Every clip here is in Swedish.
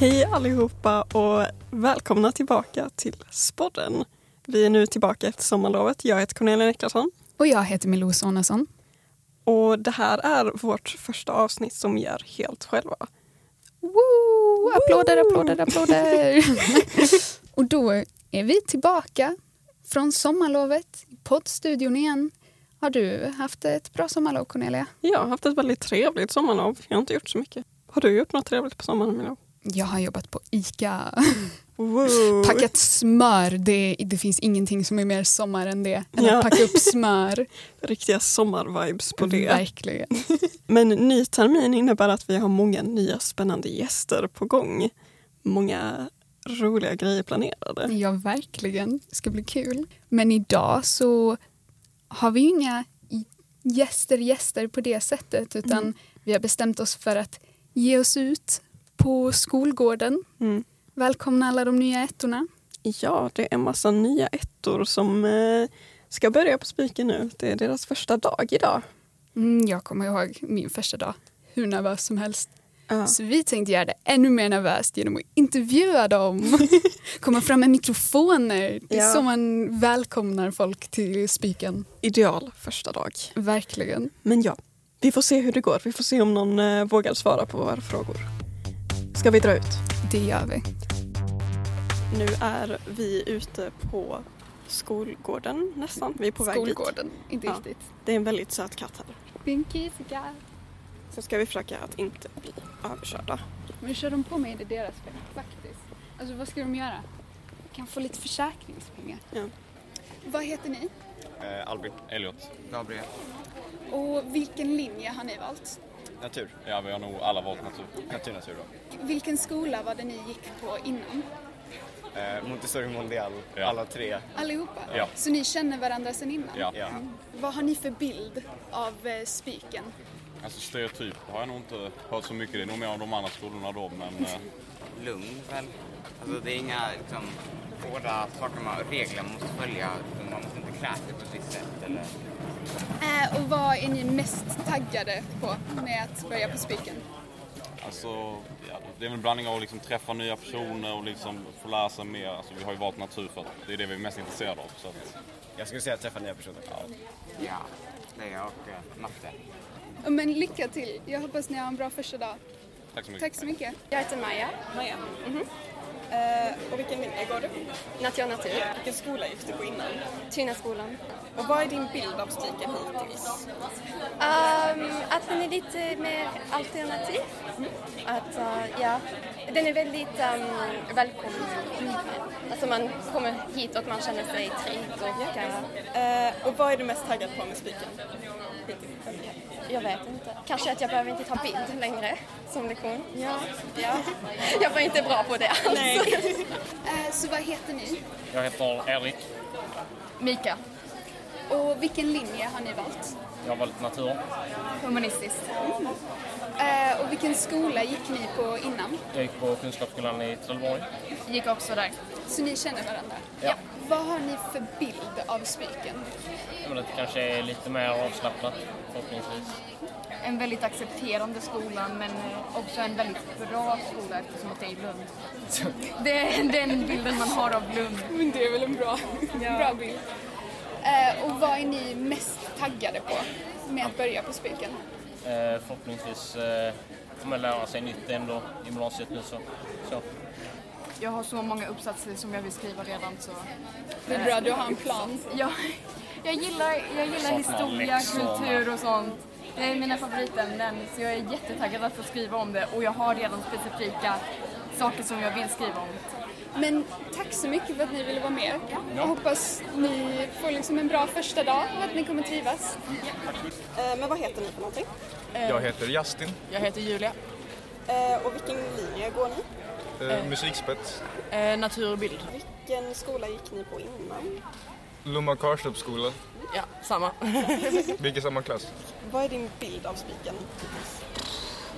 Hej allihopa och välkomna tillbaka till Spodden. Vi är nu tillbaka efter sommarlovet. Jag heter Cornelia Niklasson. Och jag heter Milou Sonesson. Och det här är vårt första avsnitt som vi gör helt själva. Woo! Applåder, applåder, applåder. och då är vi tillbaka från sommarlovet i poddstudion igen. Har du haft ett bra sommarlov Cornelia? Jag har haft ett väldigt trevligt sommarlov. Jag har inte gjort så mycket. Har du gjort något trevligt på sommaren Milo? Jag har jobbat på ICA. Wow. Packat smör. Det, det finns ingenting som är mer sommar än det. Än Ja. att packa upp smör. Riktiga sommarvibes på det. Verkligen. Men ny termin innebär att vi har många nya spännande gäster på gång. Många roliga grejer planerade. Ja, verkligen. Det ska bli kul. Men idag så har vi ju inga i- gäster, gäster på det sättet utan vi har bestämt oss för att ge oss ut på skolgården. Mm. Välkomna alla de nya ettorna. Ja, det är en massa nya ettor som eh, ska börja på Spiken nu. Det är deras första dag idag. Mm, jag kommer ihåg min första dag, hur nervös som helst. Ja. Så vi tänkte göra det ännu mer nervöst genom att intervjua dem. Komma fram med mikrofoner. Det är Ja. så man välkomnar folk till spiken. Ideal första dag. Verkligen. Men ja, vi får se hur det går. Vi får se om någon eh, vågar svara på våra frågor. Ska vi dra ut? Det gör vi. Nu är vi ute på skolgården nästan. Vi är på väg dit. Skolgården, inte Ja. riktigt. Det är en väldigt söt katt här. Binkisiga. Så ska vi försöka att inte bli överkörda. Men kör de på mig är det deras fel, faktiskt. Alltså vad ska de göra? Jag kan få lite försäkringspengar. Ja. Vad heter ni? Eh, Albin. Elliot. Gabriel. Och vilken linje har ni valt? Natur. Ja, vi har nog alla valt natur. Natur, natur då. Vilken skola var det ni gick på innan? Eh, Montessori Mondial, Ja. alla tre. Allihopa? Ja. Så ni känner varandra sedan innan? Mm. Ja. Ja. Vad har ni för bild av eh, spiken? Alltså stereotyp har jag nog inte hört så mycket. Det är nog mer av de andra skolorna då, men eh, Lugn väl? Alltså det är inga liksom, hårda saker man regler man måste följa. utan Man måste inte klä sig på ett visst sätt eller... Eh, och vad är ni mest taggade på med att börja på spiken? alltså, ja, det är väl en blandning av att liksom träffa nya personer och liksom få lära sig mer. Alltså, vi har ju valt natur för att det är det vi är mest intresserade av. Så att, Jag skulle säga träffa nya personer. Ja, det är jag och eh, matte. Men lycka till! Jag hoppas ni har en bra första dag. tack så mycket. Tack så mycket. Jag heter Maja. Maja, Mhm. Eh, och vilken linje går du? Natur Natur. Vilken skola gick du på innan? Tunaskolan. Och vad är din bild av Spiken hittills? Um, att den är lite mer alternativ. Att, eh, ja, den är väldigt um, välkommen. Alltså man kommer hit och man känner sig trygg. Och, eh, Eh, och vad är du mest taggad på med Spiken? Eh, jag vet inte. Kanske att jag behöver inte ta bild längre som lektion. Ja. ja. Jag var inte bra på det alls. Eh, så vad heter ni? Jag heter Erik. Mika. Och vilken linje har ni valt? Mm. Jag har valt natur. Humanistiskt. Eh, och vilken skola gick ni på innan? Jag gick på Kunskapsskolan i Trelleborg. Gick också där. Så ni känner varandra? Ja. Vad har ni för bild av spiken? Men det kanske är lite mer avslappnat förhoppningsvis. en väldigt accepterande skola men eh, också en väldigt bra skola eftersom att det är i Lund. Det är den bilden man har av Lund. Men det är väl en bra, bra bild. Eh, och vad är ni mest taggade på med att börja på spiken? Eh, förhoppningsvis eh, får man lära sig nytt ändå i gymnasiet nu så. så. Jag har så många uppsatser som jag vill skriva redan så... Det är bra, du har en plan. Jag, jag, gillar, jag gillar Saknar historia, läxor. kultur och sånt. Det är mina favoritämnen så jag är jättetaggad att få skriva om det och jag har redan specifika saker som jag vill skriva om. Men tack så mycket för att ni ville vara med. Jag hoppas ni får liksom en bra första dag och att ni kommer trivas. Eh, men vad heter ni för någonting? Jag heter Justin, Jag heter Julia. Eh, och vilken linje går ni? eh, musikspets. natur och bild. Vilken skola gick ni på innan? Lomma Karlslupsskola. Ja, samma. Vi gick i samma klass. Vad är din bild av Spiken?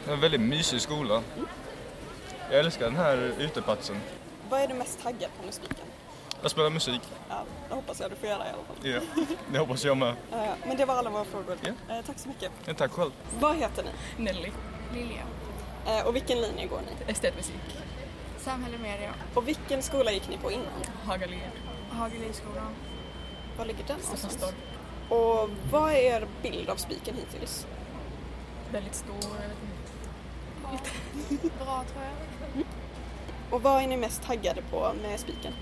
En väldigt mysig skola. Jag älskar den här uteplatsen. Vad är du mest taggad på med Spiken? Jag spelar musik. Ja, det hoppas jag du får göra i alla fall. Ja, Det hoppas jag med. Eh, men det var alla våra frågor. Ja. Eh, tack så mycket. Ja, tack själv. Vad heter ni? Nelly. Lilja. Eh, och vilken linje går ni? Estetmusik. Samhälle mer, ja. Och vilken skola gick ni på innan? Hagalien, Hagelidskolan. Var ligger den någonstans? Stockholm. Och vad är er bild av Spiken hittills? Väldigt stor, jag vet inte. Bra, tror jag. Och vad är ni mest taggade på med Spiken?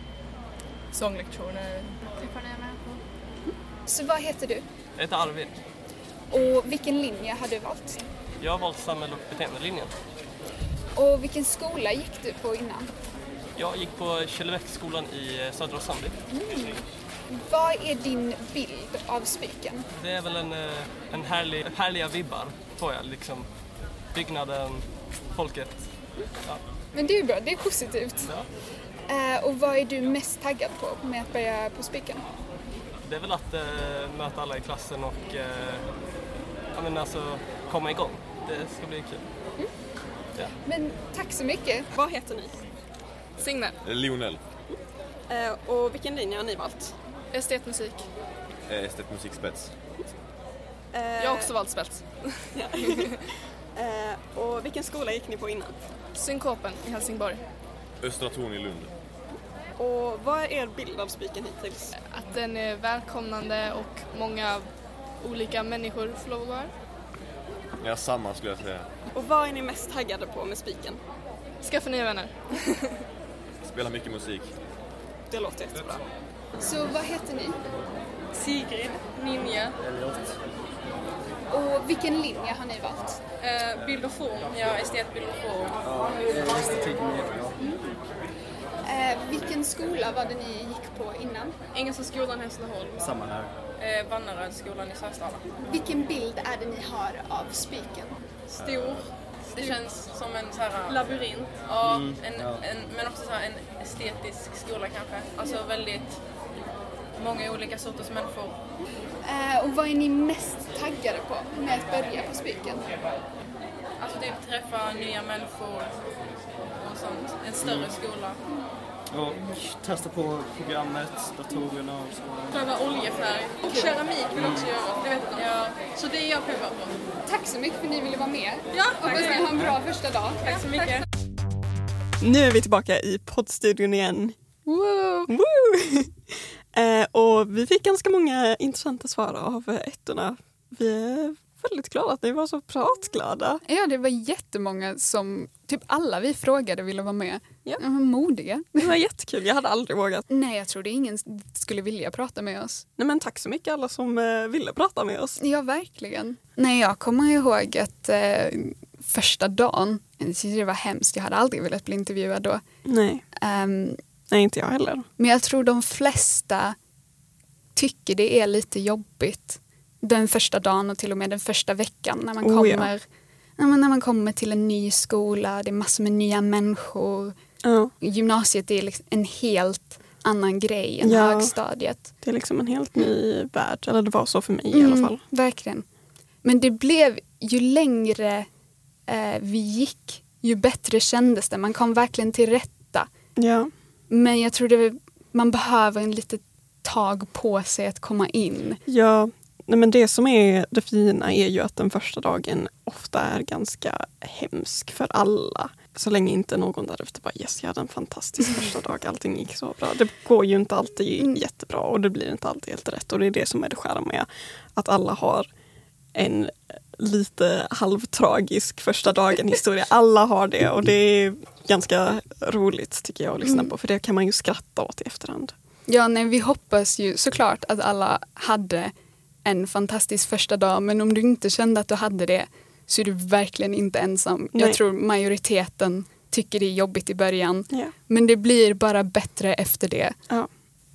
Sånglektioner. Det får ni med på. Så vad heter du? Jag heter Arvid. Och vilken linje har du valt? Jag har valt samhälle och beteendelinjen. Och vilken skola gick du på innan? Jag gick på Källeväcksskolan i eh, Södra Sandby. Mm. Vad är din bild av Spiken? Det är väl en, eh, en härlig, härliga vibbar, tror jag. Liksom, byggnaden, folket. Ja. Men det är ju bra, det är positivt. Eh, och vad är du mest taggad på med att börja på Spiken? Det är väl att eh, möta alla i klassen och eh, ja, men alltså, komma igång. Det ska bli kul. Ja. Men tack så mycket. Vad heter ni? Signe. Lionel. Eh, och vilken linje har ni valt? Estetmusik. eh, Estet musikspets. Eh, Jag har också valt spets. ja. eh, och vilken skola gick ni på innan? Synkopen i Helsingborg. Östra Torn i Lund. Och vad är er bild av Spiken hittills? Att den är välkomnande och många olika människor får lov att gå här. Ja, samma skulle jag säga. Och vad är ni mest taggade på med Spiken? Skaffa nya vänner. Spelar mycket musik. Det låter jättebra. Så vad heter ni? Sigrid. Ninja. Och vilken linje har ni valt? Eh, bild och form. Ja, estetbild och form. Eh, vilken skola var det ni gick på innan? Engelska skolan Hässleholm. Samma här. Eh, Vannaredsskolan i Särstala. Vilken bild är det ni har av Spiken? Stor. Det känns som en så här labyrint. Ja, Mm, en, ja. En, men också så här en estetisk skola kanske. Alltså väldigt många olika sorters människor. Eh, och vad är ni mest taggade på med att börja på Spiken? Alltså typ träffa nya människor och sånt. En större Mm. skola. Och testa på programmet, datorerna och så. Pröva oljefärg. Och keramik vill jag också göra. Det vet jag. Ja. Så det är jag provar på. Tack så mycket för att ni ville vara med. Ja, Hoppas ni har en bra första dag. Tack så mycket. Nu är vi tillbaka i poddstudion igen. Woo! eh, och vi fick ganska många intressanta svar av eh, ettorna. Vi är väldigt glada att ni var så pratglada. Ja, det var jättemånga som, typ alla vi frågade ville vara med. Ja. De var modiga. Det var jättekul, jag hade aldrig vågat. Nej, jag trodde ingen skulle vilja prata med oss. Nej, men tack så mycket alla som eh, ville prata med oss. Ja, verkligen. Nej, jag kommer ihåg att eh, första dagen, jag tyckte det var hemskt, jag hade aldrig velat bli intervjuad då. Nej, Ehm, nej inte jag heller. men jag tror de flesta tycker det är lite jobbigt den första dagen och till och med den första veckan när man Oh, ja. kommer ja, men när man kommer till en ny skola, det är massor med nya människor. Ja. Gymnasiet är liksom en helt annan grej än Ja. högstadiet. Det är liksom en helt ny värld, eller det var så för mig i Mm, alla fall. Verkligen. Men det blev ju längre eh, vi gick, ju bättre kändes det. Man kom verkligen till rätta. Ja, Men jag tror det, man behöver en litet tag på sig att komma in. ja. Nej, men det som är det fina är ju att den första dagen ofta är ganska hemsk för alla. Så länge inte någon därefter bara yes, jag hade en fantastisk första dag, allting gick så bra. Det går ju inte alltid jättebra och det blir inte alltid helt rätt och det är det som är det skära med att alla har en lite halvtragisk första dagen historia. Alla har det och det är ganska roligt tycker jag att lyssna Mm. på för det kan man ju skratta åt i efterhand. Ja, nej, vi hoppas ju såklart att alla hade en fantastisk första dag men om du inte kände att du hade det så är du verkligen inte ensam. Nej. Jag tror majoriteten tycker det är jobbigt i början Ja. men det blir bara bättre efter det. Ja.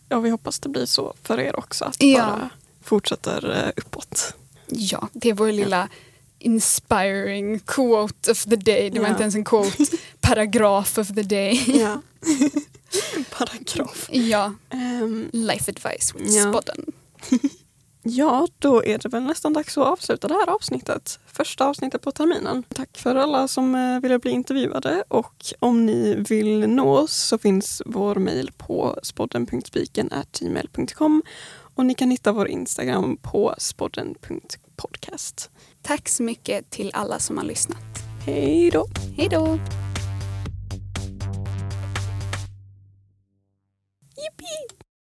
ja, vi hoppas det blir så för er också. Att det Ja. bara fortsätter eh, uppåt. Ja, det är vår lilla inspiring quote of the day. Det var Ja. inte ens en quote, paragraf of the day. Ja. Paragraf. ja, Ehm, life advice with Ja. Spodden. ja, då är det väl nästan dags att avsluta det här avsnittet. Första avsnittet på terminen. Tack för alla som eh, ville bli intervjuade och om ni vill nå oss så finns vår mejl på spodden.spiken.gmail.com och ni kan hitta vår Instagram på spodden.podcast. Tack så mycket till alla som har lyssnat. Hej då! Hej då! Pip!